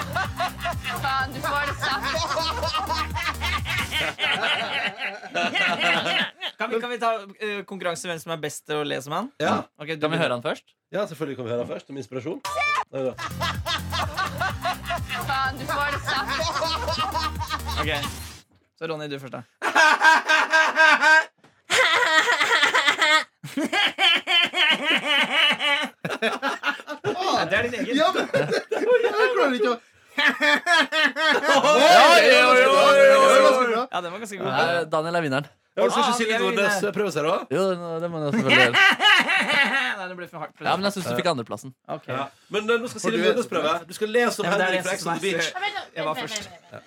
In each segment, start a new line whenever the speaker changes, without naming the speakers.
Faen, du får det saft.
Kan vi, kan vi ta eh, konkurranse hvem som er best til å le som han?
Ja,
Ok, du-
Kan vi høre han først?
ja selvfølgelig kan vi høre først om inspirasjon. Det er bra.
Faen, du får det saft.
Ok. Så Ronny, du først, da. Ja, det er din egen.
Ja, men det, det, jeg klarer ikke å
Ja, den var ganske god.
Nei, Daniel er vinneren.
Ja,
Ah,
har du ikke Silje
jeg vil
Nordnes
det.
prøve seg, da?
Jo, det- det må jeg selvfølgelig gjøre.
Nei, det ble for hardt.
Ja, men altså- jeg syns du fikk andreplassen.
Ok.
Ja. Men eh, nå skal Silje
du-
Nordnes prøve. Du skal le som
Ja, men det er det
Henrik fra Ex
som er
on the Beach.
Ja, vent da,
Jeg var
vent, vent,
først.
vent, vent, vent.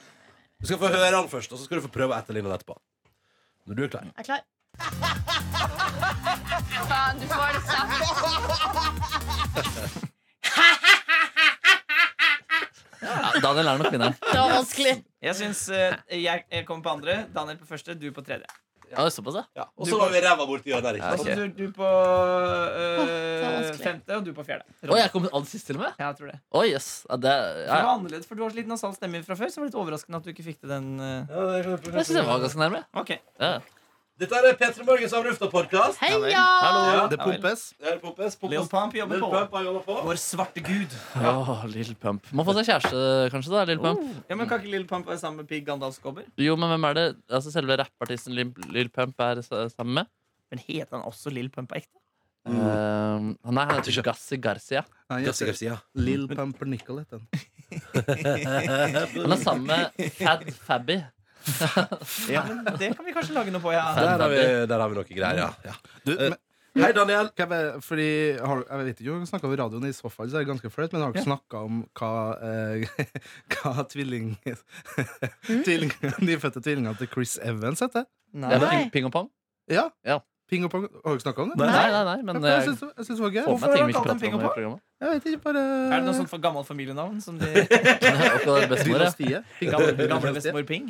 Du skal få høre han først, og så skal du få prøve å etterligne det etterpå. Når du er klar.
Er klar? Faen, du får det saft.
Ja, Daniel er nok vinneren.
Det var vanskelig.
Jeg syns eh, jeg, jeg kommer på andre, Daniel på første, du på tredje.
Ja, det er såpass, ja.
Ja. Og
Du
så var vi ræva borti hjørnet her.
Ja,
Ikke
ok.
sant?
Du, du på
Åh,
øh,
det er vanskelig.
femte, og du på fjerde.
Oi, jeg kom aller sist til og med.
Ja, jeg tror det.
Oi, jøss. Ja, det er-
Det var
ja, ja.
annerledes, for Du har så liten og sal stemme fra før, så det var litt overraskende at du ikke fikk til den. øh.
Ja, det er
Jeg syns jeg var ganske nærme.
Ok,
Ja.
Dette er P3 Morgens Av Lufta-podkast.
Heia!
Ja.
Det pumpes.
Her er Pompes.
Lil Pump jobber
Lil
på.
Pump har jobba på.
Vår svarte gud.
Åh, Lil Pump. Oh. Må få seg kjæreste, kanskje, da. Lil Pump.
Ja, men Kan ikke Lil Pump være sammen med Pig Gandalf-skobber?
Jo, men hvem er det altså, selve rappartisten Lil, Lil Pump er s- sammen med?
Men heter han også Lil Pump på ekte?
Eh, nei, han heter Gassi Garcia.
Nei,
Jessica
jeg-
Garcia.
Lill Pumpernickel het den.
Han er sammen med Fad Fabby.
Ja, men Det kan vi kanskje lage noe på, ja.
Fad
Der har vi,
Fabby.
der har vi noe greier, ja. ja.
Du, men,
Hei, Daniel.
kan jeg bare, fordi, har, jeg vet ikke om vi snakka om radioen i så fall, så er det ganske flaut, men har dere snakka om hva, eh, hva tvilling, tvilling, nyfødte tvillingene til Chris Evans heter?
Det er
Nei.
med ping, ping og pong?
Ja.
Ja.
Ping og pong. Har dere snakka om det?
Nei, nei, nei, men eh,
Jeg,
jeg
syns- jeg syns det var gøy.
får
Hvorfor
med ting
har
vi
han kalt
ikke
dem
prater om
ping
i
og
programmet.
Jeg vet ikke, bare
Er det noe sånt for gammelt familienavn? Som de
Og bestemor, ja.
Dynastiet.
gamle, gamle bestemor Ping?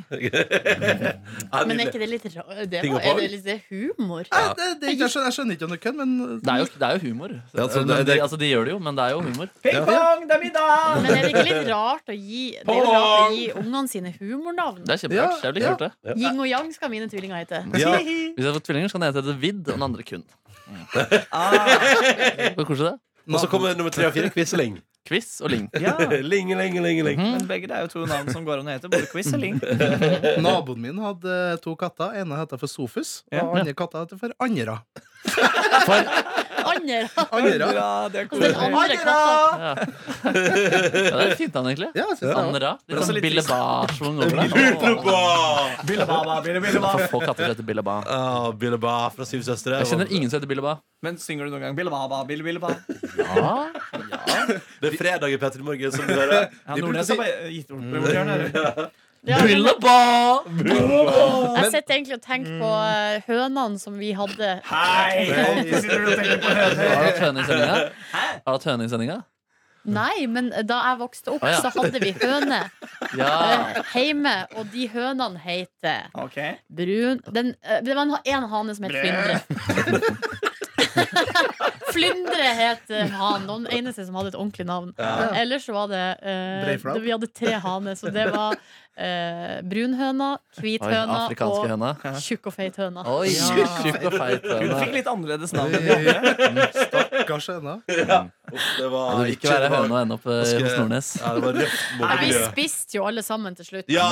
Men er ikke det litt ra- det,
Ping og
er
pong?
det litt det er humor?
Nei, det, det, jeg, skjønner, jeg skjønner ikke om det er kødd, men
Det er jo, det er jo humor.
Ja, altså, det-
Men de,
det-
altså, de gjør det jo, men det er jo humor.
Ping Pong, det er middag!
Men er det ikke litt rart å gi, det er jo rart å gi ungene sine humornavn?
Det er kjemperart. Jeg ville ikke
Ja,
gjort det.
Ying og yang skal mine tvillinger hete.
Ja.
Hvis jeg får tvillinger, så kan den ene hete Vidd og den andre Kun.
Ah,
Hvor koselig det? er.
Og så kommer nummer tre og fire. Quisling.
Quiz og Ling.
ja. Mhm.
Ling, ling, ling, ling.
Mm.
Men begge det er jo to navn som går an å hete. Både quiz og Ling.
Naboen min hadde to katter. Ene heter for Sofus,
Ja.
og andre katta heter for Andra.
Andre
Andra.
Bra, det er
Altså, den
koselig.
andre katta.
Ja. ja, det er fint navn, egentlig.
Ja, jeg synes det.
Andra. Litt
også
sånn
litt
Bille Ba-schwung over det.
Bille baba, bille, bille
For
baba.
få katter som heter Bille Ba.
Ah, Bille Ba fra Syv søstre.
Jeg kjenner ingen som heter Bille Ba.
Men synger du noen gang Bille baba, bille, bille baba?
Ja.
Det er fredag i P3 Morgen, som du hører.
Ja, Nordnes har bare gitt ord på hvor hjørnet er.
Ja, men
Bille Ba! Mm.
jeg sitter egentlig og tenker på eh, hønene som vi hadde.
Hei! Alltid sitter du og tenker på høner.
Har du hatt høne i sendinga? Har du hatt høne i sendinga?
Nei, men da jeg vokste opp,
Å, ja. Ah.
så hadde vi høner
Ja.
eh, hjemme. Og de hønene heter
Ok.
Brun den, eh, Det var en, ha- en hane som het Flyndre. Flyndre het eh, han. Den eneste som hadde et ordentlig navn. Ellers så var det eh,
Breiflabb.
Vi hadde tre haner, så det var eh, brunhøna,
Oi,
hvithøna
afrikanske
og
høna.
tjukk og feit høna.
Oi, tjukk og feit
Hun
høne.
fikk litt annerledes navn. enn de andre.
Stakkars høna.
Uff, Det var
Du vil ikke være
det var-
høne og ende opp eh, hos Nordnes.
Ja, det var røft
Nei, vi
mobbemiljø.
spiste jo alle sammen til slutt.
Ja!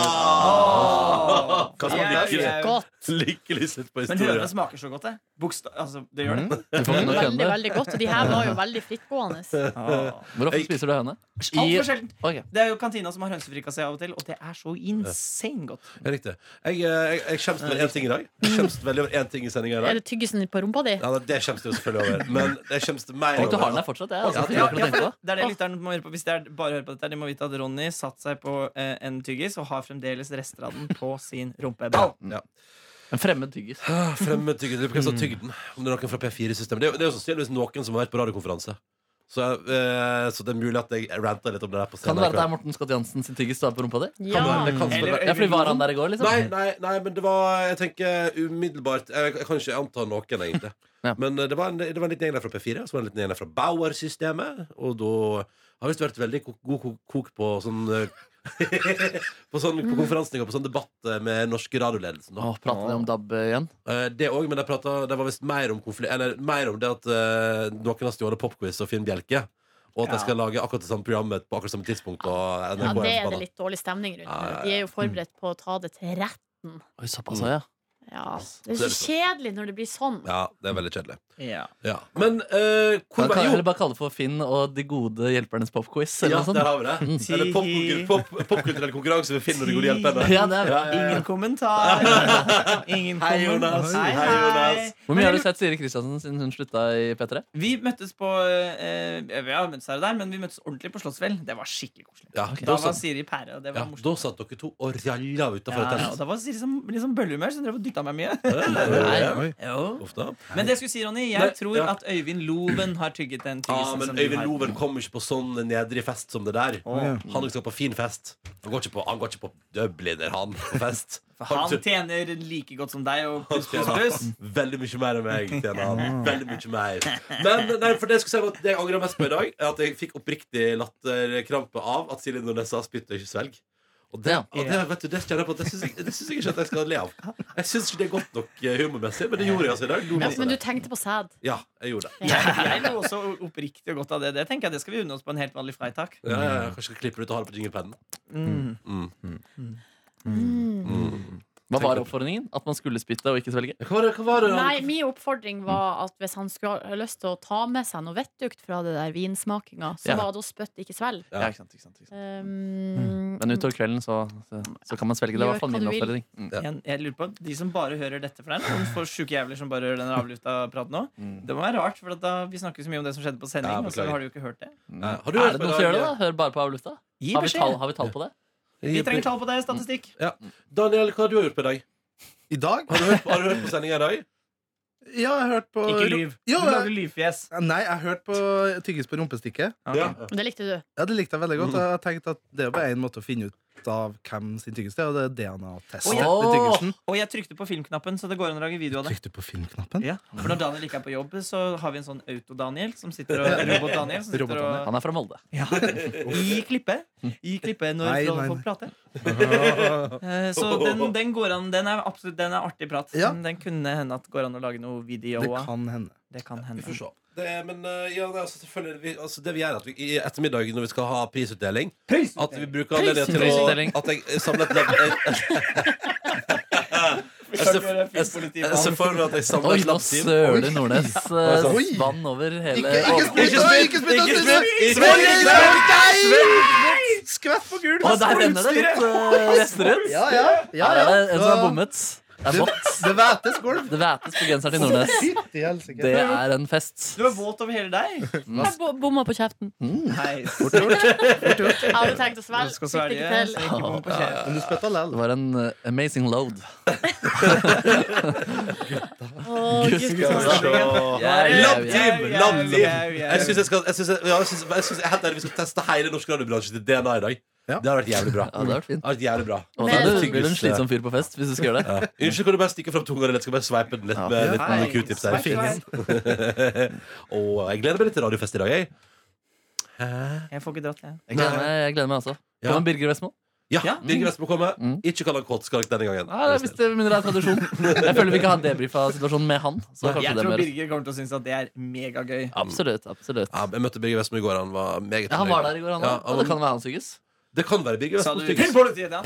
Hva som
Jeg-
lykkelig,
jeg-
Godt.
lykkelig slutt på
Men høne
historien.
smaker så godt, det. Boksta altså, det gjør det.
Du Mm. får ikke nok
Veldig,
høne.
veldig godt. Og de her var jo veldig frittgående.
Ah.
Hvor ofte spiser du høne?
Altfor sjelden.
Ok.
Det er jo kantina som har hønsefrikassé av og til, og det er så insane godt.
Ja, Riktig. Jeg, eh, jeg, jeg skjemmes over én ting i dag. Jeg skjemmes veldig over én ting i sendinga i
Er
dag.
det tyggisen på rumpa di?
Ja, det skjemmes jeg jo selvfølgelig over. Men jeg skjemmes mer
Tenk, du har den
over
der fortsatt. Jeg, altså,
Ja,
for
Ja,
jeg kunne
ja,
tenke
for
på det.
det er det lytterne må høre på Hvis de er, bare hører på dette, de må vite at Ronny satt seg på eh, en tyggis og har fremdeles rester av den på sin rumpeball.
En fremmed tyggis.
Ah, Fremmed tygge. Hvem
Mm.
som har tygd den? Om det er noen fra P4-systemet. Det, er jo- det er jo sannsynligvis noen som har vært på radiokonferanse. Så, jeg, eh, så det er mulig at jeg ranta litt om det der på
Kan
scenen.
det være
i
at det er
kveld.
Morten Scott Jansen sin tyggis står på rumpa di?
Ja.
det kan
Eller-
selvfølgelig
Ja, fordi var han der i går, liksom?
Nei, nei, nei, men det var Jeg tenker umiddelbart Jeg, jeg kan ikke anta noen, egentlig.
Ja.
Men eh, det var en, det var en liten gjeng der fra P4, og så var det en liten gjeng der fra Bauer-systemet. Og da har visst vært veldig ko- god ko- kok på sånn eh, På sånn på konferansen og på sånn debatt eh, med norske radioledelsen. Da.
Å, prater de om DAB igjen?
Eh, Det òg, men de prata Det var visst mer om konflikt Eller mer om det at eh, noen har stjålet Popquiz og Finn Bjelke. Og at
Ja.
de skal lage akkurat det samme programmet på akkurat samme tidspunkt. Og
Ja,
NRK
det er
forbanna.
det litt dårlig stemning rundt.
Ja, ja,
nå.
ja.
De er jo forberedt på å ta det til rett.
Oi, såpass, ja.
Ja. Det er så kjedelig når det blir sånn.
Ja, det er veldig kjedelig.
Ja.
Ja. Men eh,
Da
hvor
kan jeg
var
heller bare kalle det for Finn og De gode hjelpernes popquiz.
Ja,
Eller noe
der
sånt.
har vi det. Eller popkonkur- pop- popkulturell konkurranse ved Finn og de gode hjelperne.
Ja, det er bra.
Ingen kommentar. Ingen
Eh. Hei, Jonas.
kommentar.
Hei, Jonas.
Hvor mye har du sett Siri Kristiansen siden hun slutta i P3?
Vi møttes på eh, Vi har møttes her og der, men vi møttes ordentlig på Slottsfjell. Det var skikkelig koselig.
Ja,
Da
da,
var
satt,
Siri i pære, og det
ja,
var morsomt.
da satt dere to og ralla utafor
Ja,
et
ja, og
telt.
da var Siri som litt sånn bøllehumør, så hun drev og dytta meg mye.
Ja,
Oi.
Jo.
Ofte.
Men det jeg skulle si, Ronny, jeg
Nei,
tror
ja.
at Øyvind Loven har tygget den
Ja,
tyggisen.
men
som du
Øyvind
har.
Loven kommer ikke på sånn nedrig fest som det der.
Ja.
Han skal på fin fest. Han går ikke på, han går ikke på Dubliner, han, på fest.
For han tjener like godt som deg og pluss, pluss,
tjener
pluss.
veldig mye mer enn meg. Tjener han. Veldig mye mer. Men nei, for det jeg skulle si var at det jeg angrer mest på i dag, er at jeg fikk oppriktig latterkrampe av at Silje Nordnes sa 'spytt og ikke svelg'. Og det,
Ja.
og det, vet du, det kjenner jeg på at det syns jeg, det syns jeg ikke at jeg skal le av. Jeg syns ikke det er godt nok eh, humormessig, men det gjorde jeg altså i dag. Lo
Ja,
masse av
men du
det.
tenkte på sæd.
ja, jeg gjorde det.
Jeg, jeg lo også oppriktig og godt av det. Det tenker jeg det skal vi unne oss på en helt vanlig Freitag.
Ja, ja, ja. Kanskje jeg skal klippe det ut og ha det på jinglepennen.
Mm.
Mm.
Hva var oppfordringen? At man skulle spytte og ikke svelge?
Hva var det? Hva var det?
Nei, min oppfordring var at hvis han skulle ha lyst til å ta med seg noe vettugt fra det der vinsmakinga, så
Ja.
var det å spytte, ikke svelg.
Ja.
Ja, ikke sant, ikke sant, ikke sant.
Um,
Men utover kvelden så, så, så kan man svelge. Det var i hvert fall
Gjør
min
hva du
oppfordring. Mm.
Jeg, jeg lurer på, De som bare hører dette for deg, noen få sjuke jævler som bare hører den avlufta praten nå, det må være rart, for at da vi snakker så mye om det som skjedde på sending,
Ja,
og så
beklager.
har du jo ikke hørt det.
Ja, Har
Mm. Er det noen som gjør
i
det, da?
dag?
Hør bare på av lufta?
Gi
Har vi tall,
beskjed!
har vi tall på det?
Vi trenger tall på det, statistikk.
Daniel, hva har du gjort på i dag?
I dag?
Har du hørt, har du hørt på sendinga i dag?
Ja, jeg har hørt på
Ikke lyv. Du
Jo,
lager
jeg-
lyvfjes.
Nei, jeg har hørt på tyggis på rumpestikket.
Ok.
det likte du.
Ja, Det likte jeg veldig godt. og Jeg har tenkt at Det er jo bare én måte å finne ut av hvem sin tyggis det er, og det er DNA-test.
Å,
ved
ja.
tyggelsen.
Og jeg trykte på filmknappen, så det går an å lage video av det.
Trykk du på filmknappen?
Ja. For når Daniel ikke er på jobb, så har vi en sånn Auto-Daniel som sitter og Robot-Daniel som sitter og
Han er fra Molde.
ja. I klippet. I klippet når
Nei, nei,
folk
nei.
prater. Eh, Så den, den går an. Den er absolutt den er artig prat.
Ja.
Men den kunne hende at går an å lage noe video
Det
av.
kan hende.
Det kan
Vi får
hende.
se. Det, er- men eh, ja, det, er altså, selvfølgelig, vi, altså, det vi gjør, er at vi i ettermiddag når vi skal ha prisutdeling At vi bruker anledningen til
Prisutdeling.
å At jeg samler et labb... Jeg, jeg, jeg, ser- jeg, jeg ser for meg at jeg samler
Oi,
et
nå
labbteam.
søler Nordnes eh,
Oi.
vann over hele
Ikke, ikke spytt!
Ikke spytt,
oi, Ikke spytt!
ikke
Ikke
spytt, ikke
spytt! Svelg,
spytt.
svelg, nei! Skvett på gul!
Å, der renner det litt eh, rester ut.
Ja, ja. ja,
Her
ja.
er det en som har bommet. Det er
Det,
vått.
det vætes gulv.
Det vætes på genseren til Nordnes.
Fytti helsike.
Det er en fest.
Du er våt over hele deg.
Jeg bo- bomma på kjeften.
Nei,
Jeg hadde tenkt å svelge.
du skal svelge,
Fikk det ikke
så
til.
ikke bom på kjeften.
Men du spytta
Det
lell.
var en eh, amazing load.
Å,
Gud,
Gud.
skal vi se.
Jeg- jeg- jeg-
Labbteam! Labbteam! Jeg syns jeg skal jeg synes jeg, ja, jeg synes, jeg synes, helt ærlig, vi skal teste hele norsk radiobransje til DNA i dag.
Ja.
Det har vært jævlig bra.
Ja, det har vært fint.
Det har vært jævlig bra
Og
Men-
da blir du- blir du en slitsom fyr på fest hvis du skal gjøre det.
ja. Unnskyld, kan du bare stikke fram tunga di litt? Skal bare sveipe den litt med litt
Hei.
Q-tips
Sveip,
her.
sveip.
Og jeg gleder meg litt til radiofest i dag, jeg.
Jeg får ikke dratt, jeg.
Jeg gleder meg, jeg gleder meg også.
Ja.
Kommer Birger Vestmo?
Ja,
Ja.
Birger Vestmo kommer.
Mm.
Ikke kall han kåtskalk denne gangen.
Ja, det er hvis det minner deg om tradisjon. Jeg føler vi ikke har en debrief av situasjonen med han. Så kanskje
Jeg
det
tror
bør
Birger kommer til å synes at det er megagøy.
Absolutt. absolutt
Ja, jeg møtte Birger Vestmo i går. Han var meget
ja, Han var der i går, han
Ja,
òg. Og det kan være han suges.
Det kan være Birger
Sa
Vestmo
du
Styggs.
til politiet, ja?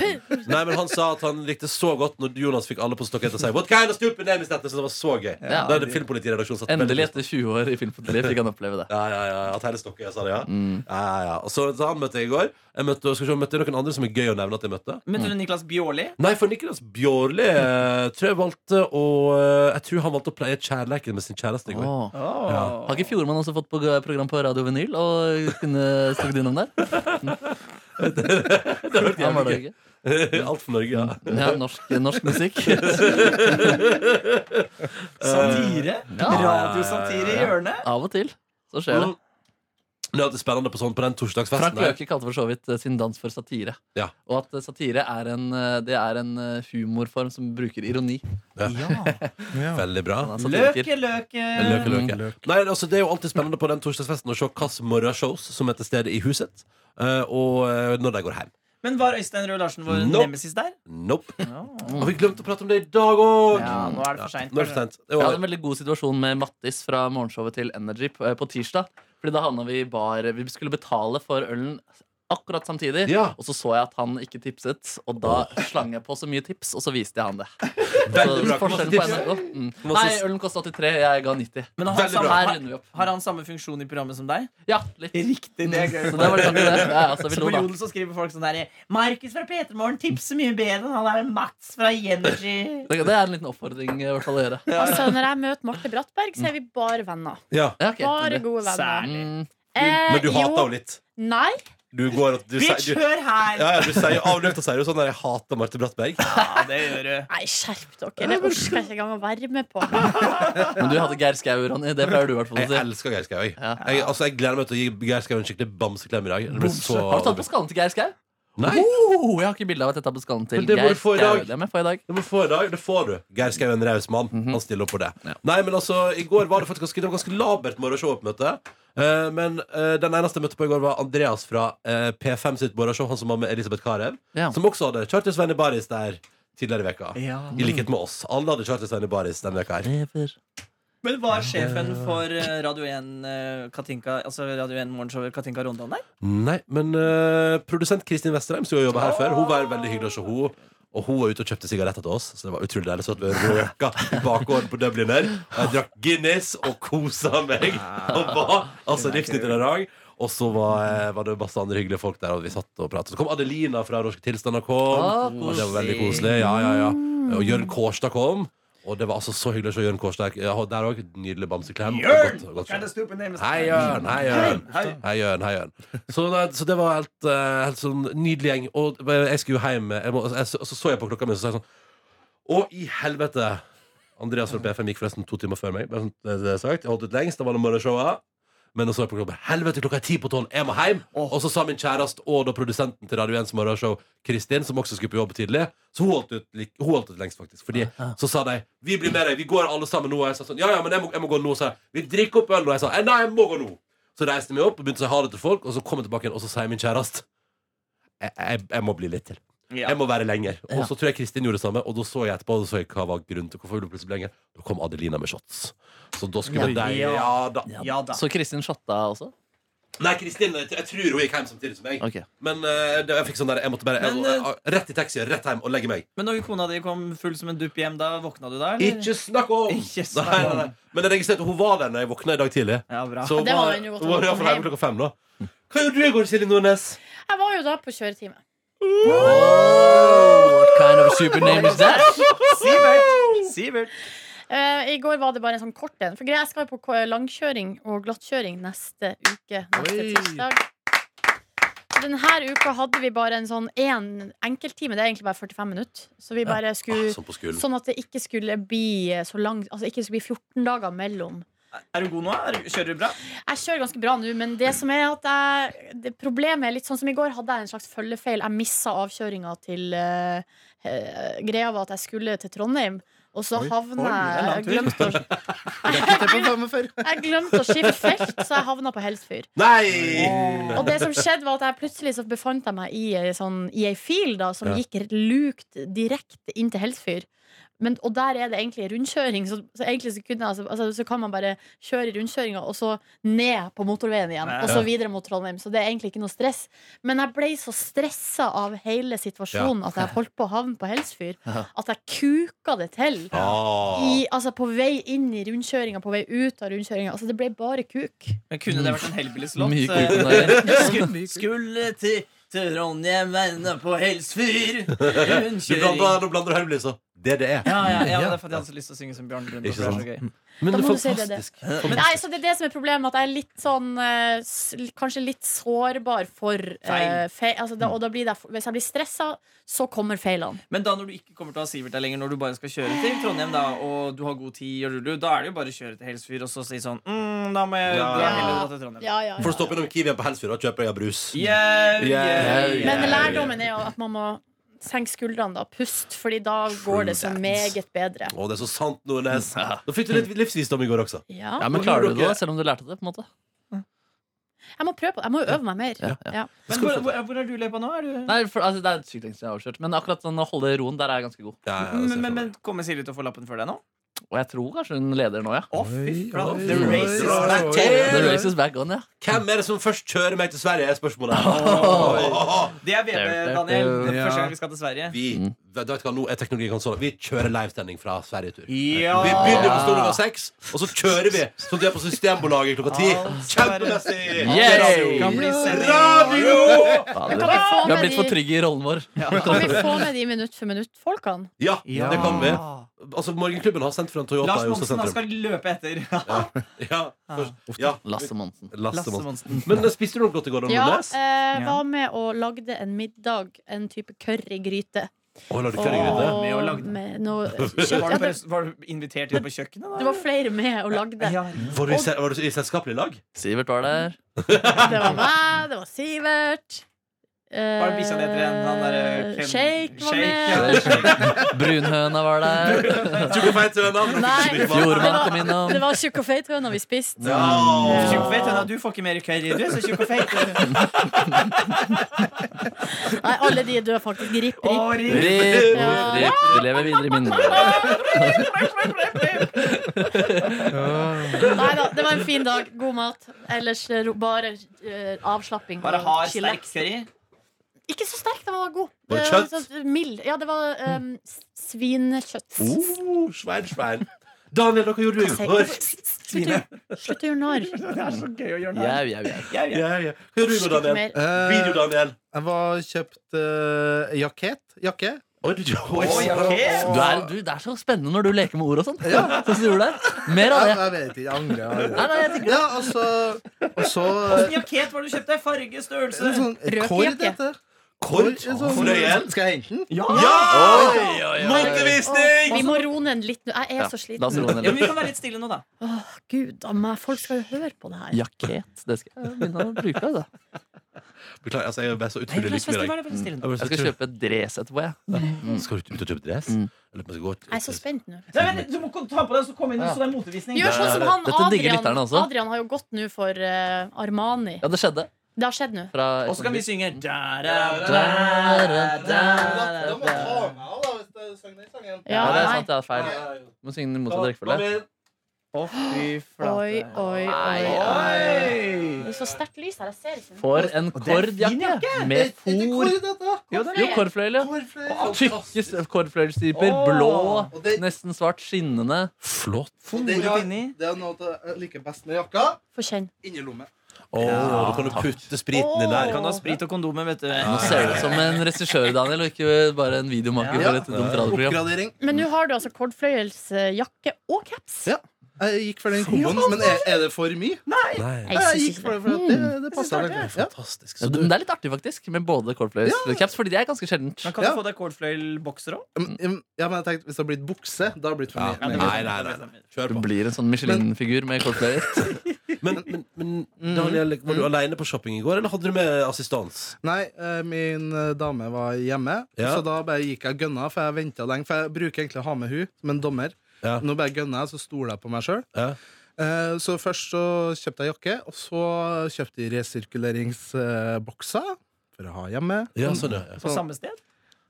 Nei, men han sa at han likte så godt når Jonas fikk alle på stokket og sa What kind of stupid name is that? Så det var så gøy.
Ja.
Da hadde filmpolitiredaksjonen satt
Endelig,
veldig pris på
etter 20 år i Filmpolitiet, fikk han oppleve
det.
det.
Ja, ja, ja, at hele stokket sa det, ja.
Mm.
ja, ja, ja. Og så, så han møtte jeg i går. Jeg møtte, skal vi se, møtte jeg noen andre som er gøy å nevne at jeg møtte?
Møtte du Niklas Bjørli?
Nei, for Niklas Bjørli eh, tror jeg valgte å eh, Jeg tror han valgte å pleie kjærleiken med sin kjæreste i går.
Åh.
Åh.
Har ikke Fjordmann også fått på program på Radio Vinyl og kunne stukket innom der? det har vært
jævlig gøy.
ikke.
Alt for Norge, ja.
Ja, norsk, norsk musikk.
Satire?
Ja.
Radiosatire i hjørnet?
Av og til så skjer det.
Mm. Det er alltid spennende på, sånn, på den torsdagsfesten.
Frank
der.
Løke kalte for så vidt eh, sin dans for satire.
Ja.
Og at eh, satire er en, eh, det er en eh, humorform som bruker ironi.
Ja.
Veldig bra.
Han er satiriker.
Løke, løke.
Løke, løke.
Løk.
Nei, altså, det er jo alltid spennende på den torsdagsfesten å se hvilke morgenshows som er til stede i huset, eh, og eh, når de går hjem.
Men var Øystein Røe Larsen vår
Nope.
nemesis der?
Nope.
Ja.
Har vi glemt å prate om det i dag òg?
Ja, nå er det for sent,
Nå er det for sent. Det
Jeg
var-
hadde en veldig god situasjon med Mattis fra morgenshowet til Energy på, eh, på tirsdag. Fordi da havna vi i bar. Vi skulle betale for ølen akkurat samtidig.
Ja.
Og så så jeg at han ikke tipset, og da slang jeg på så mye tips, og så viste jeg han det.
Veldig bra.
Så forskjellen på NRK. Mm.
Masse-
Nei, ølen kosta 83, jeg ga 90.
Men har han,
Veldig
Så
bra.
samme, har,
her runder vi opp.
har han samme funksjon i programmet som deg?
Ja, litt.
Riktig, det er gøy.
Så det var liksom det. Ja, altså, vi
Så på
lo, da.
Jodel så skriver folk sånn der Markus fra Petermorgen tipser mye bedre enn han der Mats fra Energy.
Det det er en liten oppfordring eh, i hvert fall å gjøre.
Altså, når jeg møter Marte Brattberg, så er vi bare venner.
Ja.
Ja, ok,
Bare
Tore.
gode venner.
Særlig.
Mm.
Eh,
Men du hater
jo,
henne litt.
Nei.
Du går og du, sier-
Bitch,
du,
hør her!
ja, ja, du sier avløpt og sier jo sånn der 'Jeg hater Marte Brattberg'.
Ja, det gjør du.
Nei, skjerp dere. Det orker jeg ikke engang å være med på.
Men du hadde Geir Skau, Ronny. Det pleier du i hvert fall å
Jeg
si.
elsker Geir Skau. Jeg.
Ja.
Jeg, altså, jeg gleder meg til å gi Geir Skau en skikkelig bamseklem i dag. Det blir så
Har du tatt på skallen til Geir Skau?
Nei,
Oh, jeg har ikke bilde av at jeg tar på skallen til
Men det må
Geir
du få i
Skau.
dag.
Det må jeg få i dag.
det må du få i dag. Det får du. Geir Skau er en raus mann. Han stiller opp på det.
Mhm. Ja.
Nei, men altså, I går var det faktisk ganske, det var ganske labert morgenshow på møte. Eh, men eh, den eneste jeg møtte på i går, var Andreas fra eh, P5 sitt morgenshow. Han som var med Elisabeth Carew.
Ja.
Som også hadde kjørt til Svein i Baris der tidligere i veka.
Ja.
I likhet med oss. Alle hadde kjørt til Svein i Baris denne veka her.
Lever.
Men var sjefen for eh, Radio 1 eh, Katinka Altså Radio 1 morgenshow Katinka Rondan der?
Nei, men eh, produsent Kristin Westerheim som jo jobba her før, hun var veldig hyggelig å se hun. Og hun var ute og kjøpte sigaretter til oss, så det var utrolig deilig. Så at vi røka i bakgården på Dublin her. Og Jeg drakk Guinness og kosa meg. Og var altså livsnyttig i dag. Og så var, eh, var det masse andre hyggelige folk der, og vi satt og pratet. Så kom Adelina fra Norske Tilstander.
Ah,
kom Og det var veldig koselig. Ja, ja, ja. Og Jørn Kårstad kom. Og det var altså så hyggelig å se Jørn Kårstad Ja, og der òg. Nydelig bamseklem. og godt- godt- Hei, Jørn. Hei, Jørn.
Hei.
Hei, Jørn. Hei, Jørn. Så, nei, så det var helt, eh, helt sånn nydelig gjeng. Og jeg skulle jo hjem. Jeg må, jeg, så, så så jeg på klokka mi, og så sa jeg sånn Å, i helvete! Andreas fra P5 gikk forresten to timer før meg. bare sånn, det er sagt. Jeg holdt ut lengst. Da var det morgenshowet. Men så så jeg på klokka Helvete, klokka er ti på tolv! Jeg må hjem! Og så sa min kjæreste og da produsenten til Radio 1s morgenshow, Kristin, som også skulle på jobb tidlig, så hun holdt ut, lik- hun holdt ut lengst, faktisk. Fordi så sa de 'Vi blir med deg. Vi går alle sammen nå.' Og jeg sa sånn 'Ja, ja, men jeg må, jeg må gå nå.' Så jeg, 'Vi drikker opp øl nå.' Jeg sa "Eh, 'Nei, jeg må gå nå.' Så reiste vi opp og begynte å si ha det til folk, og så kom jeg tilbake igjen, og så sier min kjæreste jeg, jeg, jeg må bli litt til. Jeg må være lenger. Og så tror jeg Kristin gjorde det samme, og da så jeg etterpå og så jeg hva var grunnen til hvorfor hun ble plutselig ble lenger. Da kom Adelina med shots. Så da skulle
Ja.
de Ja da.
Ja da.
Så Kristin shotta også?
Nei, Kristin, jeg jeg tror hun gikk hjem samtidig som meg.
Ok.
Men eh, det, jeg fikk sånn der Jeg måtte bare jeg,
Men, eh,
jeg- rett i taxi, rett hjem og legge meg.
Men når kona di kom full som en dupp hjem, da våkna du da, eller?
Ikke snakk om!
Ikke snakk om.
Nei, nei, nei. Men jeg registrerte at hun var der når jeg våkna i dag tidlig.
Ja, bra.
Så hun
Det var
var,
jo godt
hun
at
var i
hun
hvert fall
kom
hjemme klokka fem, da. Hva gjorde du i går, Silje Nordnes?
Jeg var jo da på kjøretime.
Oh, What kind of super name is that?
Sivert! Sivert.
Eh, I går var det bare en sånn kort en. For greia, jeg skal jo på k- langkjøring og glattkjøring neste uke. Neste
Oi.
tirsdag. Denne uka hadde vi bare en sånn én enkelttime. Det er egentlig bare 45 minutter. Så vi bare
Ah,
skulle
sånn på skolen.
Sånn at det ikke skulle bli så langt Altså ikke skulle bli 14 dager mellom.
Er du god nå? Er du, kjører du bra?
Jeg kjører ganske bra nå, men det som er at jeg, det problemet er litt sånn som i går. Hadde jeg en slags følgefeil. Jeg missa avkjøringa til eh, eh, Greia var at jeg skulle til Trondheim, og så
Oi.
havna jeg
Oi,
jeg
det er en
glemte, å, jeg glemte å skifte felt, så jeg havna på Helsfyr.
Nei!
Og det som skjedde, var at jeg plutselig så befant jeg meg i, ei sånn, i ei fil da, som
Ja.
gikk lukt direkte inn til Helsfyr. Men, og der er det egentlig rundkjøring, så, så egentlig så, kunne, jeg- altså, altså, så kan man bare kjøre i rundkjøringa og så ned på motorveien igjen.
Ja.
Og så videre mot Trondheim. Så det er egentlig ikke noe stress. Men jeg ble så stressa av hele situasjonen at jeg holdt på å havne på Helsfyr,
Ja.
at jeg kuka det til.
Ah.
I, altså På vei inn i rundkjøringa, på vei ut av rundkjøringa. Altså, det ble bare kuk.
Men kunne det vært en Hellbillies-låt?
Mye
eh,
kuk om dagen.
Skulle, skulle til Trondheim, enda på Helsfyr.
Du blander,
Rundkjøring.
nå blander du hermelys, så. det det er.
Ja, ja, ja, men det er fordi jeg hadde så lyst til å synge som Bjørn Brunbo. for
Ikke
det er så
sant.
gøy.
Men
Da
det er
må du si det, det.
fantastisk.
Nei, så Det er det som er problemet, at jeg er litt sånn eh, s- Kanskje litt sårbar for eh,
Feil.
feil. Altså, da, og da blir det, hvis jeg blir stressa, så kommer feilene.
Men da når du ikke kommer til å ha Sivert der lenger, når du bare skal kjøre til Trondheim, da og du har god tid, og lulu, da er det jo bare å kjøre til Helsfyr og så si sånn mm, Da må jeg
Ja.
dra heller dra til Trondheim.
Ja, ja,
Får du stoppe innom Kiwien på Helsfyr og kjøpe deg brus.
Yeah,
Yeah,
yeah,
yeah.
yeah.
Men lærdommen er jo at man må senke skuldrene, da. Pust, fordi da går det så
that.
meget bedre.
Å, det er så sant, Nordnes. Da fikk du litt livsvisdom i går også.
Ja.
Ja, men
Hvor
klarer
gjorde
du det,
dere-
selv om du lærte det? på en måte?
Jeg må prøve på det. Jeg må jo øve meg mer.
Ja,
Ja.
Men hvor, hvor, hvor er du løypa nå? Er du
Nei, for, altså, Det er sykt lenge siden jeg har overkjørt, men akkurat sånn å holde det i roen, der er jeg ganske god.
Ja, ja, det ser
men,
jeg
men,
for meg.
men kommer Silje til å få lappen før deg nå?
Og jeg tror kanskje hun leder nå, ja.
Å, fy flate.
Oi,
The
oi,
race is
oi,
back
oi.
on.
The race is back on, ja.
Hvem er det som først kjører meg til Sverige, er spørsmålet.
Det er VB, Daniel. Det er
Ja.
første gang vi skal til Sverige.
Vi,
Mm.
vet du hva, nå er teknologien sånn. Vi kjører livesending fra Sverigetur.
Ja.
Vi begynner på stolen over seks, og så kjører vi sånn at vi er på Systembolaget klokka ti.
Altså.
Kjempemessig!
Yes!
Kan bli sending.
Radio!
Fader.
kan vi få
Vi har
med
blitt
de-
for trygge i rollen vår.
Kan vi få med de minutt for minutt-folkene?
Ja,
Ja.
det kan vi. Altså, Morgenklubben har sendt fra en Toyota
Lars
i Oslo
Monsen han
sentrum.
skal løpe etter.
Ja, først- ja.
Lasse Monsen.
Lasse
Lasse
Monsen.
Monsen.
Men eh, spiste du noe godt i går?
Ja,
Nordnes?
eh, var med og lagde en middag, en type currygryte.
Å, la du
Åh.
kjøre i gryte?
Med og
Og
lagde.
med noe
Var
kjøtt.
du,
Ja, det,
bare, var du invitert inn på kjøkkenet, da?
det var flere med og lagde.
Ja.
Var du i, se- var du i selskapelig lag?
Sivert var der.
Det var meg, det var Sivert. eh,
Var det bikkja di etter igjen? Han der, eh, Ken-
Shake var med.
Shake,
Brunhøna var der.
Tjukk og feit høne.
Nei.
Fjordmann kom innom.
Det var tjukk og feit høna vi spiste.
Ja.
ja.
Mm.
Tjukk og feit, Anna, Du får ikke mer curry, du, så tjukk og feit.
Nei, alle de er døde, faktisk. Rip,
Å,
rip.
Rip,
ri-
rip,
Ja.
rip. Vi lever videre i minnet.
Nei da, det var en fin dag. God mat. Ellers eh, ro- bare eh, avslapping.
Bare
og
hard,
chille.
sterk curry.
Ikke så sterk, den var god.
Var det
Eh,
kjøtt?
sånn Mild. Ja, det var um, s- svinekjøtt.
Oh, svein, svein. Daniel, hva gjorde du i går?
Slutt å- slutt å gjøre narr.
Det er så gøy å gjøre narr.
Jau, jau, jau.
Ja, ja.
Ja, ja. Hva gjorde du i går,
Slutt
Daniel?
mer.
Eh,
Video-Daniel.
jeg var kjøpt eh, jakett. Jakke.
Oi, du- oi,
Å, ja, ok.
Du er, du, det er så spennende når du leker med ord og sånn. Sånn som du gjorde der. Mer av
Jeg,
det.
jeg vet ikke, jeg angrer. aldri.
Nei, nei, jeg tenker
Ja, altså Og så
Hvilken jaket var det du kjøpte? Farge,
eh, en
størrelse?
sånn
Rød
kord,
jakke.
heter det.
Kort.
En sånn-
Fløyel.
Skal jeg hente den?
Ja!
Ja!
Å,
Motevisning!
Vi må roe ned litt nå. Jeg
Ja,
er så
La oss
sliten.
roe ned
Ja, men
litt.
Vi kan være litt stille nå, da.
Åh, Gud av meg. Folk skal jo høre på det her.
Jaket. Det skal jeg begynne å bruke. Altså.
Beklager, altså, jeg er så
Nei,
utrolig
Lars
lysten i
Vester, vær
dag.
litt stille nå.
Jeg skal kjøpe et dress etterpå, jeg.
Skal du ut og kjøpe dress?
Mm.
Eller om jeg skal gå ut-
Jeg er så spent nå.
Nei, vent, du må ta på deg, så kom inn, så det er motevisning.
Gjør sånn som han
Dette digger
Adrian.
lytterne også.
Adrian har jo gått nå for eh, Armani.
Ja, det skjedde.
Det har skjedd nå.
Fra
Og så kan vi synge da, da, da, da, da,
Da
da.
må jeg ta meg av, da, hvis jeg sang den sangen.
Ja,
Ja,
det er
nei.
sant. Det er feil. Du må synge den i motsatt rekkefølge.
Å, fy
Oi,
flate.
oi,
Nei,
oi.
Oi!
Det er så sterkt lys her. Jeg ser ikke.
For en kordjakke med
Det er ikke
for
kord, dette.
Jo, det er jo kordfløyel, ja.
Kordfløyel.
Tykke s- kordfløyelstriper.
Åh.
Blå,
Og det-
nesten svart, skinnende.
Flott.
Og
Ordet
den har-
inni.
Det er noe av det jeg liker best med jakka.
Få kjenne.
Innerlomme.
Å, da kan du putte spriten din der.
Kan du ha sprit og kondomer, vet du.
Nå ser du ut som en regissør, Daniel, og ikke bare en videomaker for et dumt radioprogram.
Oppgradering.
Men nå har du altså kordfløyelsjakke og caps.
Ja. Jeg gikk for den komboen, men er, er det for mye?
Nei,
Jeg
Jeg
synes
gikk
ikke
for
det.
det, for det, det passer.
det
Det, ja.
fantastisk.
Ja,
Så
du-
du,
men det er litt artig, faktisk, med både cordfløyelscaps, fordi det er ganske sjeldent.
Men kan du
Ja.
få deg kålfløyelbokser òg?
Mm, mm, ja, men jeg tenkte, Hvis det hadde blitt bukse, da hadde det blitt for
ja.
mye.
Nei, nei, nei. nei. Kjør
Du
på.
blir en sånn Michelin-figur med cordfløyer.
Men, men,
Mm.
men Daniel, var du aleine på shopping i går, eller hadde du med assistans?
Nei, eh, min eh, dame var hjemme,
Ja.
så da bare gikk jeg gønna, for jeg venta lenge. For jeg bruker egentlig å ha med hun som en dommer.
Ja.
Nå bare gønna jeg, så stoler jeg på meg sjøl.
Ja.
Eh, Så først så kjøpte jeg jakke, og så kjøpte jeg resirkuleringsbokser for å ha hjemme.
Ja, sånn, ja.
På samme sted?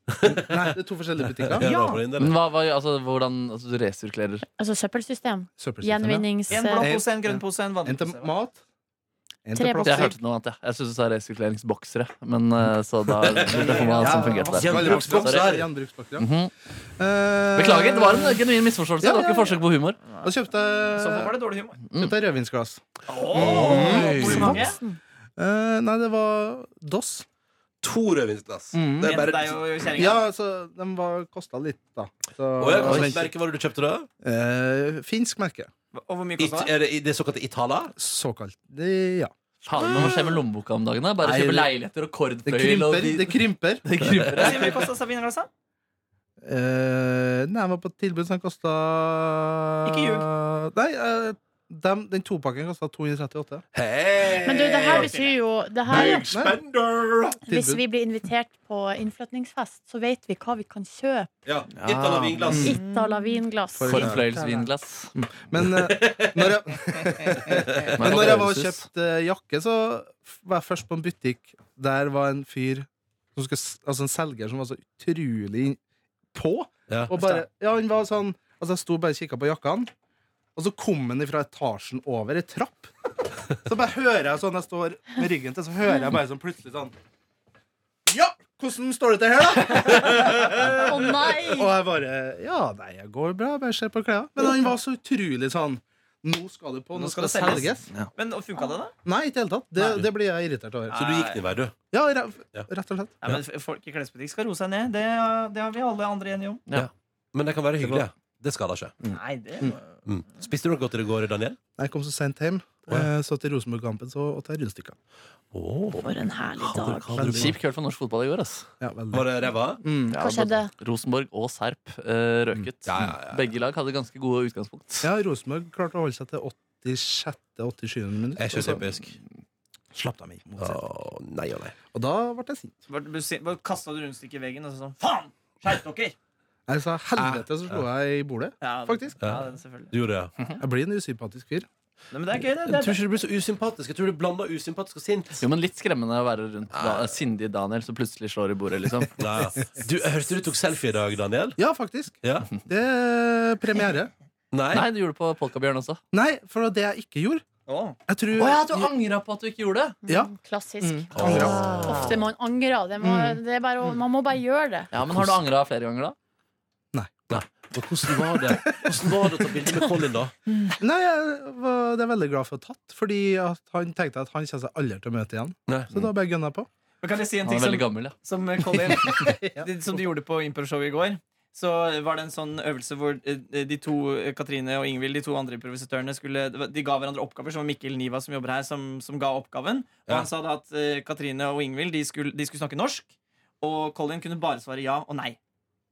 Nei, det er to forskjellige
ja.
butikker.
ja. da var det inn der,
Men
det.
hva, hva, altså, hvordan altså, Du resirkulerer.
Altså søppelsystem.
Søppelsystemet.
Gjenvinnings...
En blå
eh,
pose, en grønn pose, en vanlig
En til
pose. hva?
mat. En
Tre
til
Jeg
plastikk.
hørte noe annet, jeg. Jeg syns du sa resirkuleringsboksere. Men eh, så da lurte jeg på hva som fungerte der.
Gjenbruksbokser.
Sorry, Gjenbruksbokser.
Mhm.
Eh,
Beklager, det var en genuin misforståelse. Det var ikke forsøk på humor.
Da kjøpte
Så
jeg,
Sånn var det dårlig humor.
kjøpte jeg rødvinsglass.
Hvor mange?
voksen.
Eh, nei, det var Doss.
to rødvinsglass.
Mm.
En
Det er
til
bare
deg og kjerringa.
Ja, altså, de var- kosta litt, da. Så,
Å ja, hva
Altså,
slags merke var det du kjøpte da?
eh, finsk merke.
Og hvor mye
It,
kosta det?
er det i det såkalte Itala?
Såkalt. Det, ja.
Faen, men hva skjer med lommeboka om dagen? da? Bare
Nei,
kjøpe
det-
leiligheter og
Det
kordfløyel og
krymper.
de-
Det krymper.
Det krymper.
Hvor mye kosta Sabine-glassa?
Eh, nei, den var på et tilbud som kosta
Ikke
Nei, eh, dem- den topakken kosta 238.
Hei!
Men du, det her betyr jo det her,
Spender!
Hvis vi blir invitert på innflytningsfest, så vet vi hva vi kan kjøpe.
Ja, Itala vinglass.
Mm.
Itala vinglass.
For-
Kordfløyelsvinglass.
Men eh, når jeg, men når jeg var og kjøpte eh, jakke, så f- var jeg først på en butikk. Der var en fyr som skulle, s- Altså en selger som var så utrolig på.
Ja.
Og bare, ja, han var sånn Altså Jeg sto bare og kikka på jakkene, og så kom han ifra etasjen over ei trapp. Så bare hører jeg sånn, jeg står med ryggen til, så hører jeg bare sånn plutselig sånn Ja! Hvordan står det til her, da?
Å nei!
Og jeg bare Ja, nei, jeg går bra. Bare ser på klærne. Men han var så utrolig sånn Nå skal det på. Nå, skal det selges.
Men og funka det, da?
Nei, ikke i det hele tatt. Det, det blir jeg irritert over.
Så du gikk din vei, du.
Ja, re
Ja.
rett og slett.
Nei, men Folk i klesbutikk skal roe seg ned. Det, det har vi alle andre enige om.
Men det kan være hyggelig. Det skader ikke.
Nei, det
Mm. Spiste du noe godt i det går, Daniel?
Jeg kom så sent hjem,
Å, ja.
eh, så til Rosenborg-kampen så og tar rundstykker.
Oh.
For en herlig dag.
Kjip kveld for norsk fotball i går, ass.
Ja, veldig.
Var det ræva?
Mm.
Hva skjedde?
Rosenborg og Serp eh, røket.
Ja, ja, ja, ja.
Begge lag hadde ganske gode utgangspunkt.
Ja, Rosenborg klarte å holde seg til 86. 87. minutt.
Er ikke
og så
typisk.
Slapp dem i. mot
Å,
seg.
nei og nei.
Og da ble jeg sint.
var Kasta du rundstykket i veggen og så sånn Faen! Skjerp dere!
Jeg sa helvete, så slo jeg i bordet.
Ja,
Faktisk.
Ja, den selvfølgelig.
Du gjorde det, ja.
Jeg blir en usympatisk fyr.
Nei, men det er gøy, det. det,
Jeg
er
tror ikke du blir så usympatisk. Jeg tror du blander usympatisk og sint.
Jo, men Litt skremmende å være rundt da, sindige Daniel som plutselig slår i bordet. liksom
Nei. Du, jeg hørte du tok selfie i dag, Daniel.
Ja, faktisk.
Ja.
Det er premiere.
Nei.
Nei, du gjorde det på Polkabjørn også.
Nei, for det var det jeg ikke gjorde.
Å.
Jeg tror
angra på at du ikke gjorde det?
Ja.
Klassisk.
Åh.
Ofte man angrer. Det må, det er bare, å- man må bare gjøre det.
Ja, men Har du angra flere ganger, da?
Men hvordan var det Hvordan var det å ta bilde med Colin, da?
Nei, jeg var, det er jeg veldig glad for å ha tatt, fordi at han tenkte at han kommer seg aldri til å møte igjen.
Nei.
Så da bare gønna jeg på.
Men kan jeg si en
Han
ting
er veldig
som,
gammel, ja.
som eh, Colin det- Som du gjorde på improv-showet i går? Så var det en sånn øvelse hvor eh, de to, eh, Katrine og Ingvild, de to andre improvisatørene, skulle, det var- de ga hverandre oppgaver. Så var Mikkel Niva, som jobber her, som, som ga oppgaven. Og
Ja.
han sa da at eh, Katrine og Ingvild de skulle, de skulle snakke norsk. Og Colin kunne bare svare ja og nei.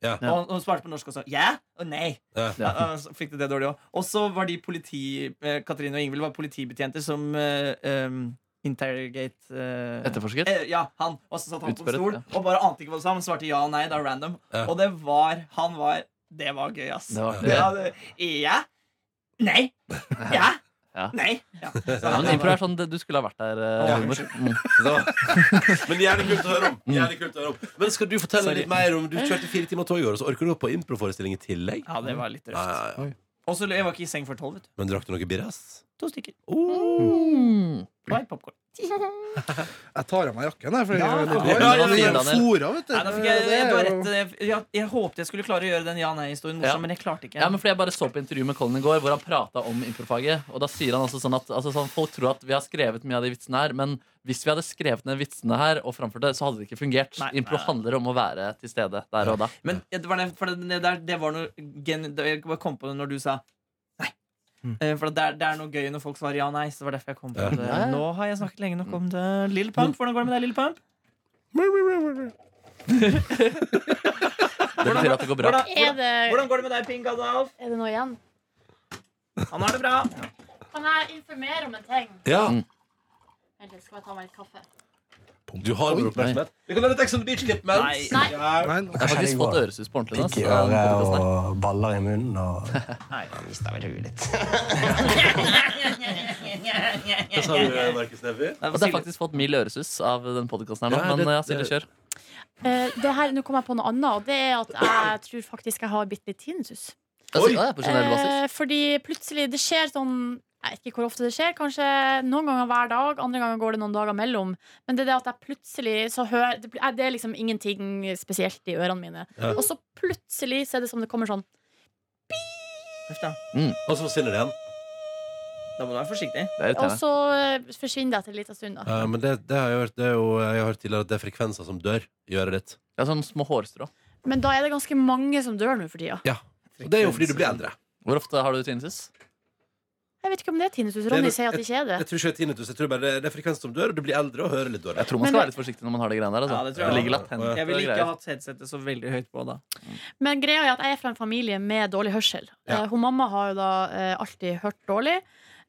Ja.
Og han- han svarte på norsk også. Ja og nei.
Ja.
Ja, ja, så fikk det det dårlig også. Og så var de politi eh, Katrine og Ingvild var politibetjenter som eh, em, Interrogate eh,
Etterforsket.
eh, Ja, han. Og så satt han på
Utspørret,
en stol og bare ante ikke hva det sa, men svarte ja og nei. Da random.
Ja.
Og det var Han var Det var gøy, ass.
Det var
Det
det.
hadde- ja. Nei. Ja.
Ja.
Nei. Ja. Så
Ja,
han-
men impro er sånn det- du skulle ha vært der. eh,
Ja.
Halvor. Mm.
Så. Men jævlig kult å høre om. Jævlig kult å høre om. Men skal du fortelle
Sorry.
litt mer om Du kjørte fire timer tog i går, og så orker du gå på improforestilling i tillegg?
ja, det var litt
Ja,
røft.
ja, ja.
Og så jeg var ikke i seng før tolv. vet du.
Men drakk du noe birras?
To stykker.
Mm.
Og en popcorn.
Jeg tar av meg jakken, jeg. For
Ja,
jeg,
ja,
jeg,
ja, ja, ja.
fora, vet du.
Nei, da fikk jeg,
Det er
jeg, var
jo-
rett, jeg, jeg, jeg håpte jeg skulle klare å gjøre den ja-nei-historien morsom,
Ja.
men jeg klarte ikke.
Ja, men fordi Jeg bare så på intervju med Colin i går hvor han prata om improfaget. Og da sier han altså sånn at altså sånn, Folk tror at vi har skrevet mye av de vitsene her, men hvis vi hadde skrevet ned vitsene her og framført det, så hadde det ikke fungert.
Nei.
Impro handler om å være til stede der og da.
Men det var, det, for det, det der, det var noe gen, det- Jeg bare kom på det når du sa nei.
Mm.
Eh, For det er, det er noe gøy når folk svarer ja og nei. Så det var derfor jeg kom på
Ja.
det. Nå har jeg snakket lenge nok om det. Lille Pump, hvordan går det med deg, Lille Pump?
Det betyr at det går bra.
Hvordan,
Er
hvordan,
det,
hvordan går det med deg, Pink Adolf?
er det noe igjen?
Han har det bra.
Kan jeg informere om en ting?
Ja.
Mm.
Vent litt, skal jeg ta meg litt kaffe?
Du har vår oppmerksomhet. Vi kan lage et Ex on the Beach-klipp mens.
Nei.
Nei,
Jeg har faktisk fått øresus på ordentlig. nå, så det er en podcast her.
og baller i munnen. Og...
Hva sa du, Markus Neby?
Og det er faktisk fått mild øresus av den podkasten her nå.
Ja, det-
Men ja, Silje, kjør.
Eh, det her, Nå kom jeg på noe annet, og det er at jeg tror faktisk jeg har bitte litt tinnitus.
Altså, ja, på generell basis.
Eh, fordi plutselig det skjer sånn jeg vet ikke hvor ofte det skjer, kanskje noen ganger hver dag, andre ganger går det noen dager mellom. Men det er det at jeg plutselig så hører Det er- det er liksom ingenting spesielt i ørene mine.
Ja.
Og så plutselig så er det som det kommer sånn
Uff da.
Og så forsvinner det igjen.
Da må du være forsiktig.
Det er
Og
irriterende.
så eh, forsvinner det etter en liten stund, da.
Eh, men det, det har jeg hørt det er jo, Jeg har hørt tidligere at det er frekvenser som dør i øret ditt.
Det er sånn små hårstrå.
Men da er det ganske mange som dør nå for tida.
Og det er jo fordi du blir eldre.
Hvor ofte har du tinnitus?
Jeg vet ikke om det er tinnitus.
Det er
Ronny
nok-
sier at det ikke er det.
Jeg tror ikke det er tinnitus. Jeg tror bare det- det er frekvenser som dør, og du blir eldre og hører litt dårlig.
Jeg tror man
Men
skal
det-
være litt forsiktig når man har det greiene der. Altså.
Ja, det
det,
tror jeg.
ligger latent.
Ja.
Jeg ville ikke
greier.
hatt headsetet så veldig høyt på da.
Men greia er at jeg er fra en familie med dårlig hørsel.
Ja.
Eh, hun mamma har jo da eh, alltid hørt dårlig.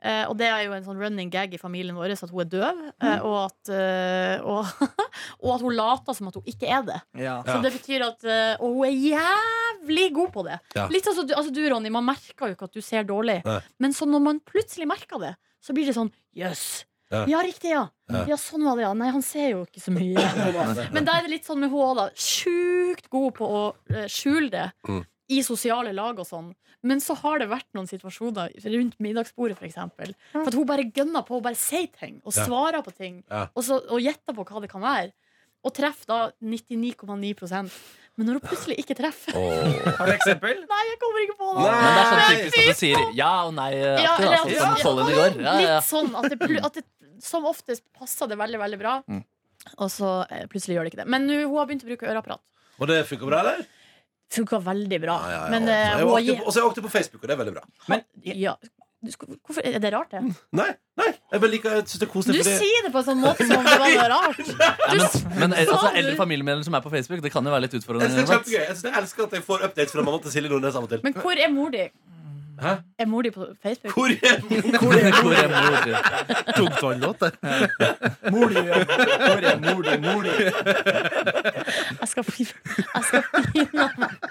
Eh, og det er jo en sånn running gag i familien vår at hun er døv, eh, og, at, eh, og, og at hun later som at hun ikke er det.
Ja.
Så det betyr at eh, Og hun er jævlig god på det.
Ja.
Litt sånn som du, altså du, Ronny, man merker jo ikke at du ser dårlig.
Nei.
Men så når man plutselig merker det, så blir det sånn Jøss.
Ja.
Ja. riktig, ja.
Ja.
ja. sånn var det, ja. Nei, han ser jo ikke så mye. Men da er det litt sånn med hun òg, da. Sjukt god på å eh, skjule det.
Mm.
I sosiale lag og sånn. Men så har det vært noen situasjoner rundt middagsbordet, f.eks. For, eksempel. for at hun bare gønner på, hun bare sier ting, og
Ja.
svarer på ting,
Ja.
og, så, og gjetter på hva det kan være. Og treffer da 99,9 Men når hun plutselig ikke treffer
Åh.
Har du eksempel?
Nei, jeg kommer ikke på
Nei.
det!
Men det er sånn
Ah, Men
typisk at du sier ja og nei.
Ja,
Ja,
eller
altså,
at-
sånn
ja,
foldet det går. Ja, ja.
Litt sånn at det, plu- at det som oftest passer det veldig, veldig bra.
Mm.
Og så eh, plutselig gjør det ikke det. Men nå, hun har begynt å bruke øreapparat.
Og det funka bra, eller?
Funka veldig bra.
Ja, ja, ja.
Men eh,
Jeg er
hun
jo
har
aktiv- Og så er jeg aktiv på Facebook, og det er veldig bra.
gitt ja. Du skal- Hvorfor, er det rart, det?
Nei, nei, jeg bare liker jeg synes det Mm. er
Du
koselig. fordi-
sier det på en sånn måte som om det var noe rart.
Ja, men men altså,
Fader.
eldre familiemedlemmer som er på Facebook, det kan jo være litt
Jeg
utfordrende.
synes det er
iblant.
kjempegøy. Jeg synes jeg elsker at jeg får updates fra mamma til Silje Nordnes av og til.
Men hvor er mor di?
Hæ?
Er mor di på Facebook?
Hvor er
Hvor er mor?
Tungtvann-låt, det.
Mor di, ja. Mor di, mor di, mor di.
Jeg skal pin- jeg skal pina meg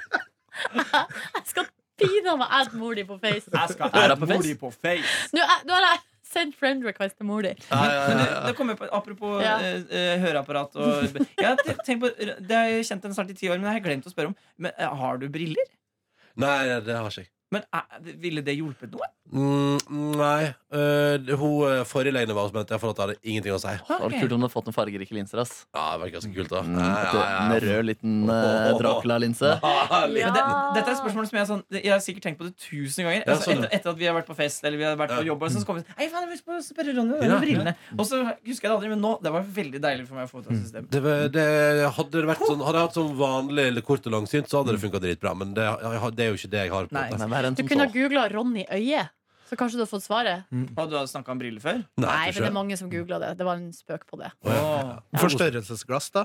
Jeg skal pina meg adde mor di på Facebook.
Jeg skal
Er det på
mor
face?
di på face.
Nå, er- nå har jeg sendt friend request til mor di.
Men det, det kommer på, Apropos
Ja.
eh, eh, høreapparat og jeg har te- tenkt på, Det har jeg kjent en snart i ti år, men jeg har glemt å spørre om Men eh, har du briller?
Nei, det har ikke jeg.
Men eh, Ville det hjulpet noe?
Mm, nei. Øh, hun øh, forrige legen var hos meg, og jeg har fått at det hadde ingenting å si.
Det hadde vært kult om du hadde fått noen fargerike linser. ass
Ja, det var ganske kult, da.
Mm,
Ja, ja, ja.
En rød liten eh, Dracula-linse.
Herlig.
Men det, dette er et spørsmål som jeg, er sånn, jeg har sikkert tenkt på det tusen ganger.
Ja,
Altså,
sånn, ja.
etter, etter at vi har vært på fest eller vi har vært på
Ja. Mm.
jobb. Og så kommer vi sånn, Ei, faen, jeg må spørre Ronny om
Ja,
de
ja.
brillene. Og så husker jeg det aldri, men nå Det var veldig deilig for meg å få
Mm.
ut av systemet.
Det, var- det, hadde, det vært sånn, hadde jeg hatt sånn vanlig eller kort og langsynt, så hadde det funka dritbra. Men det, jeg har- det er jo ikke det jeg har. på
Nei.
en måte.
Nei, verre enn
Du
som
kunne ha
så.
googla Ronny Øye, så kanskje du har fått svaret.
Og du har snakka om briller før?
Nei,
Nei, men
kanskje.
det er mange som googla det. Det var en spøk på det.
Åh.
Forstørrelsesglass, da.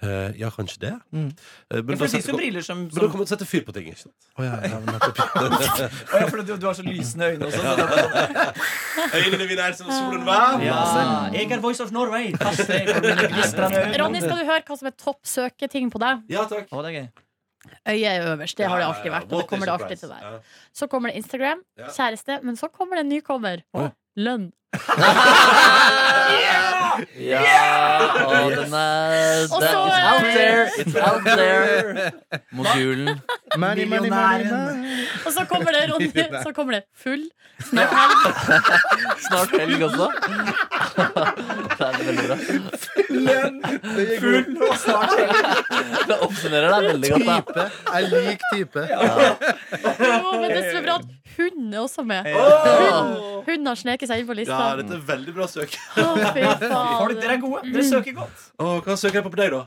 Eh, ja, kanskje det.
Mm.
Eh,
Ja, for
men, da
det fins
setter,
jo briller som,
men da
som
kan man sette fyr på ting. Ikke sant?
Å, ja, ja, men nettopp.
Å, ja, for du, du har så lysende øyne sånn. også. Så det,
Øynene mine er som solen hver.
ja. altså. Jeg er Voice of Norway. Pass deg for mine glistrende øyne.
Ronny, skal du høre hva som er topp søketing på deg?
Ja, takk.
Å, det er gøy.
Øyet er øverst. Det har det alltid
Ja, ja, ja.
vært. Og det kommer det
What a
alltid til å
surprise.
være.
Ja.
Så kommer det Instagram,
Ja.
kjæreste, men så kommer det en nykommer.
Oi.
Lønn.
Ja! Og den er
Og
den,
så
It's
er-
out there! It's out there! Mogulen.
Money, money, money, money.
Og så kommer det Ronny, så kommer det full. Snart helg.
Snart helg også. Det er veldig bra.
Full og snart helt.
Det oppsummerer deg veldig godt.
Type. Jeg liker type.
Jo, men det er så bra at hunden er også med.
da
Hun, hun har sneket seg inn på lista.
Ja, dette er veldig bra søk.
Å, fy
Folk, dere er
faen.
gode. Dere søker godt.
Åh, hva søker jeg på på deg, da?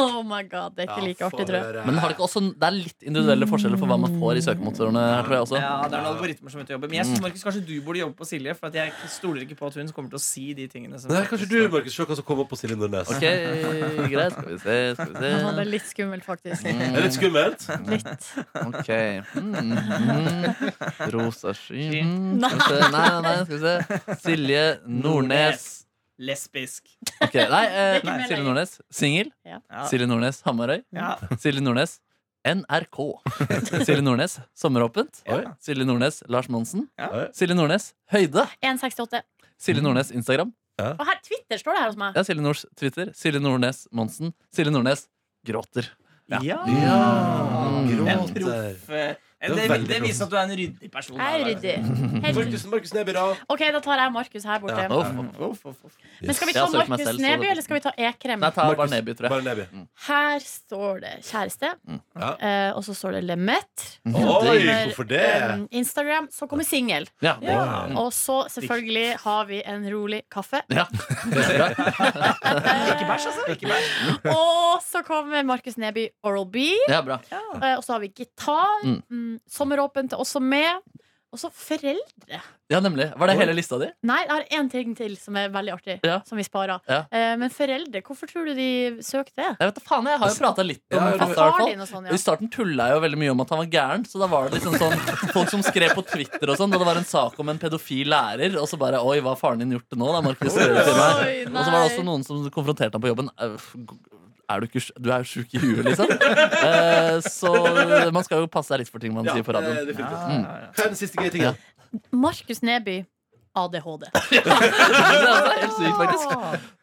Oh my god, det er ikke like artig, tror jeg.
Men har det ikke også, det er litt individuelle forskjeller for hva man får i søkemotorene her, tror jeg også.
Ja, det er noen algoritmer som vet å jobbe. Men jeg synes, Markus, kanskje du burde jobbe på Silje, for at jeg stoler ikke på at hun kommer til å si de tingene som
Nei, kanskje du, Markus, se hva som kommer opp på Silje Nordnes.
Ok, greit. Skal vi se, skal vi
Ja, det
se. Mm,
er litt skummelt, faktisk.
Er det litt skummelt?
Litt.
Ok. Mm, mm. Rosa sky mm.
Nei.
Skal vi se. Nei, nei, nei, skal vi se. Silje Nordnes.
Lesbisk.
Ok, Nei, eh,
Det er ikke mer
Silje
lenger.
Nordnes. Singel.
Ja.
Silje Nordnes Hamarøy.
Ja.
Silje Nordnes NRK. Silje Nordnes Sommeråpent.
Oi.
Silje Nordnes Lars Monsen.
Ja.
Silje Nordnes Høyde.
168.
Silje Nordnes Instagram.
Og her, Twitter står det her hos meg.
Ja, Silje Nords Twitter. Silje Nordnes Monsen. Silje Nordnes gråter.
Ja.
Mm.
En
Gråt der.
proff eh,
var
det,
veldig
det
proff.
viser at du er en ryddig person. da.
Jeg er ryddig. Helt ryddig.
Markus, Markus Neby, da.
OK, da tar jeg Markus her borte.
Ja.
Uff.
Uff, uff, uff.
Men skal vi
Jeg
ta
har søkt meg
Markus
selv, så
Neby,
det-
eller skal vi ta E-krem?
Nei, ta bare Neby, tror jeg.
Bare Neby.
Mm.
Her står det kjæreste.
Ja.
Eh, og så står det Lemet.
Oi,
Under,
hvorfor det?
eh, Instagram. Så kommer singel.
Ja, det,
Ja.
mm.
Og så selvfølgelig har vi en rolig kaffe.
ja. det er bra.
Ikke bæsj, altså. og så kommer Markus Neby Oral B.
Ja, bra.
Eh, Og så har vi
Ah.
gitar.
Mm.
Mm, sommeråpent er også med. Og så foreldre.
ja, nemlig. Var det hele lista di?
Nei, jeg har én ting til som er veldig artig,
Ja.
som vi sparer.
Ja.
Eh, Men foreldre, hvorfor tror du de søkte det?
Jeg vet da faen, jeg har jo prata litt om
Ja, du-
ja,
Ja,
i hvert
far
fall.
din og sånn,
I
ja.
starten tulla jeg jo veldig mye om at han var gæren. Så da var det liksom sånn Folk som skrev på Twitter og sånn, da det var en sak om en pedofil lærer, og så bare Oi, hva har faren din gjort til nå, da, Markus? Skrev du til meg.
Oi,
Og så var det
nei.
også noen som konfronterte ham på jobben. «Øff, Er du, ikke, sj- du er jo sjuk i huet, liksom. Eh, så man skal jo passe seg litt for ting man sier på radioen.
eh,
Mm.
det er fint. Hva er den siste gøye tingen?
Markus Neby, ADHD.
Det er helt sykt, faktisk.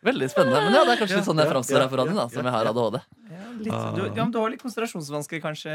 Veldig spennende. Men ja, det er kanskje litt sånn jeg framstår her på radioen, da, som jeg har ADHD.
Ja, litt,
Ah.
du, ja, men du har litt konsentrasjonsvansker, kanskje.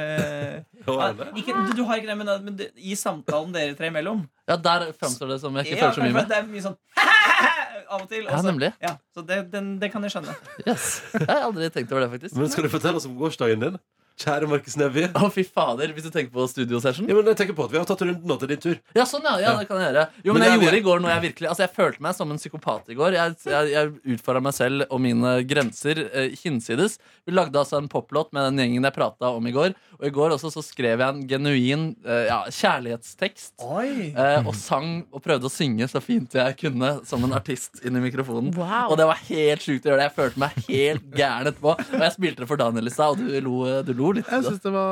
Ja,
Hva er det?
ikke, du, du har ikke det, men, men det, i samtalen dere tre imellom
Ja, der framstår det som jeg ikke
Ja,
føler så mye
kanskje
med.
Det er mye sånn av og til.
Ja,
og så-
nemlig.
Ja, så det, den, det kan jeg skjønne.
Yes. Jeg har aldri tenkt over det, faktisk.
Men skal du fortelle oss om gårsdagen din? Kjære Markus Neby.
Å, fy fader, hvis du tenker på studiosession.
Ja, men jeg tenker på at Vi har tatt runden nå til din tur.
Ja, sånn, ja. ja det kan jeg gjøre. Jo, men
Men det
jeg
er-
gjorde i går noe jeg virkelig Altså, jeg følte meg som en psykopat i går. Jeg, jeg, jeg utfordra meg selv og mine grenser eh, hinsides. Vi lagde altså en poplåt med den gjengen jeg prata om i går. Og i går også så skrev jeg en genuin eh, ja, kjærlighetstekst. eh, og sang og prøvde å synge så fint jeg kunne som en artist inn i mikrofonen.
Wow.
Og det var helt sjukt å gjøre det. Jeg følte meg helt gæren etterpå. Og jeg spilte det for Daniel i stad, og du lo, du lo litt.
Jeg syns det var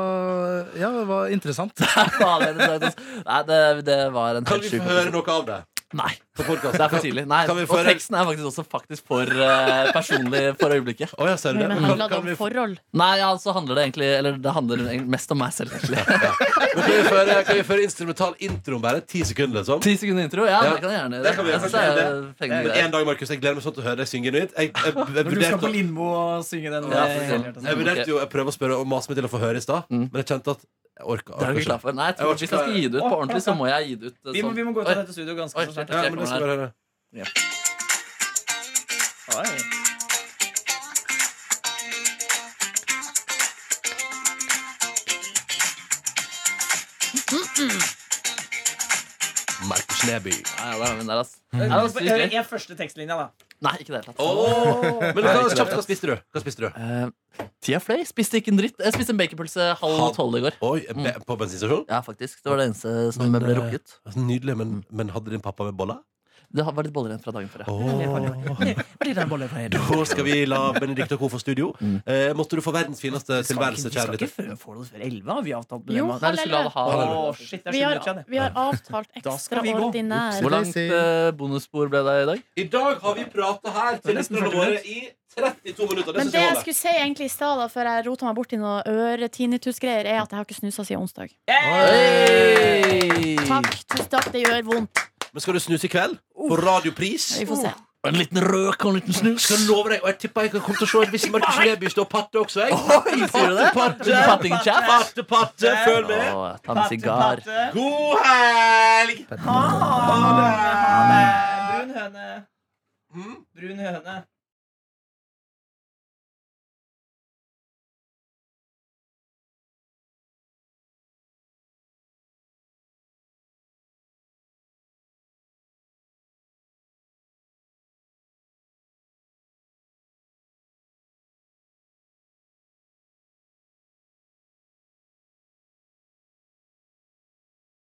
Ja, det var interessant.
Faen, det, er interessant, ass. Nei, det, det var en
Kan
helt
vi
sjuk
få høre noe av det?
Nei,
På podcasten?
det er for tidlig. Nei,
Kan vi
og
få høre-
teksten er faktisk også faktisk for eh, personlig for øyeblikket.
Å, ja, ser du det?
Men
Kan-
handler det
kan
om
vi få-
forhold?
Nei, ja, så handler det egentlig Eller det handler egentlig mest om meg selv, egentlig.
Men Kan vi føre, kan vi føre instrumental intro om bare ti sekunder? Liksom?
Ti sekunder intro? Ja,
Ja.
det kan jeg gjerne
Det kan
gjøre.
vi
Jeg
gjøre.
synes det
Det
er
er
fengende
Men En
greier.
dag, Markus, jeg gleder meg sånn til å høre deg synge nytt. Jeg, jeg, jeg,
Når du skal
vurderte
på
å-
Lindmo og synge den eh,
Ja, for
helhjertet
eksempel.
jeg vurderte jo Jeg prøvde å spørre og mase meg til å få høre i stad,
Mm.
men jeg kjente at jeg orka.
Det er du ikke klar for. Nei, jeg tror,
Jeg var
Hvis jeg skal gi det ut på
Å,
ordentlig, så må jeg gi det ut eh,
Vi må, vi må gå ut
Oi,
av dette studioet ganske
Oi,
så snart.
Ja, men det skal vi bare høre.
Oi.
Markus Neby.
Ja, ja, det er min der, ass. Ja, det var sykt
Hør,
gøy.
Jeg er første tekstlinja, da.
Nei, ikke i det hele tatt.
Åh! Men hva, kjapt, hva spiste du? Hva spiste du?
Eh, Tida fløy. Spiste ikke en dritt. Jeg spiste en baconpølse halv
Halv-
tolv i går.
Oi, be-
Mm.
På bensinstasjonen?
Ja, faktisk. Det var det eneste som
Men,
ble
eh,
rukket.
Altså, Nydelig,
Mm.
men, men hadde din pappa med boller?
Det var litt boller igjen fra dagen før. ja.
Åh. Da skal vi la Benedikt og Co. få studio.
Mm.
Eh, måtte du få verdens fineste tilværelse, kjære lytter.
før få det før elleve, har vi avtalt
Jo,
Emma?
Nei, vi skulle ha det halv.
Å, shit, det er
Vi
så
har,
mye siden,
vi har avtalt
Da skal vi gå.
ekstraordinær
Hvor langt eh, bonusspor ble det i dag?
I dag har vi prata her til lytterne våre i 32 minutter. Det
Men
syns jeg
det jeg
holder.
skulle si egentlig i stad, da, før jeg rota meg bort i noe øre-tinnitus-greier, er at jeg har ikke snusa siden onsdag. Takk. Tusen takk. Det gjør vondt.
Men skal du snuse i kveld? På Radiopris?
Vi får se.
En liten røk og en liten snus.
Skal jeg love deg, og jeg tipper jeg kan komme til å se en viss Markus Neby stå og patte også, jeg.
Sier du det?
Patte, patte,
Patting chaps?
patte, patte, følg
Å,
med.
jeg tar med sigar.
God helg!
Ha det! Hmm? Brun høne. Brun høne.